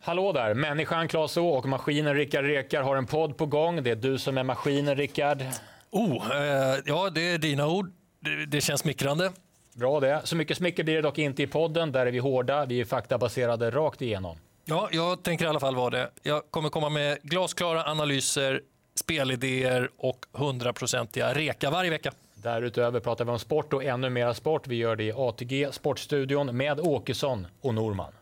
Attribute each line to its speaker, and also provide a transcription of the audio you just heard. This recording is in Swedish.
Speaker 1: Hallå där! Människan Klas Å och maskinen Rickard Rekar har en podd på gång. Det är du som är maskinen, Rickard.
Speaker 2: Oh, eh, ja, det är dina ord. Det, det känns smickrande.
Speaker 1: Bra det. Så mycket smicker blir det dock inte i podden. Där är vi hårda. Vi är faktabaserade rakt igenom.
Speaker 2: Ja, jag tänker i alla fall vara det. Jag kommer komma med glasklara analyser, spelidéer och hundraprocentiga reka varje vecka.
Speaker 1: Därutöver pratar vi om sport och ännu mera sport. Vi gör det i ATG Sportstudion med Åkesson och Norman.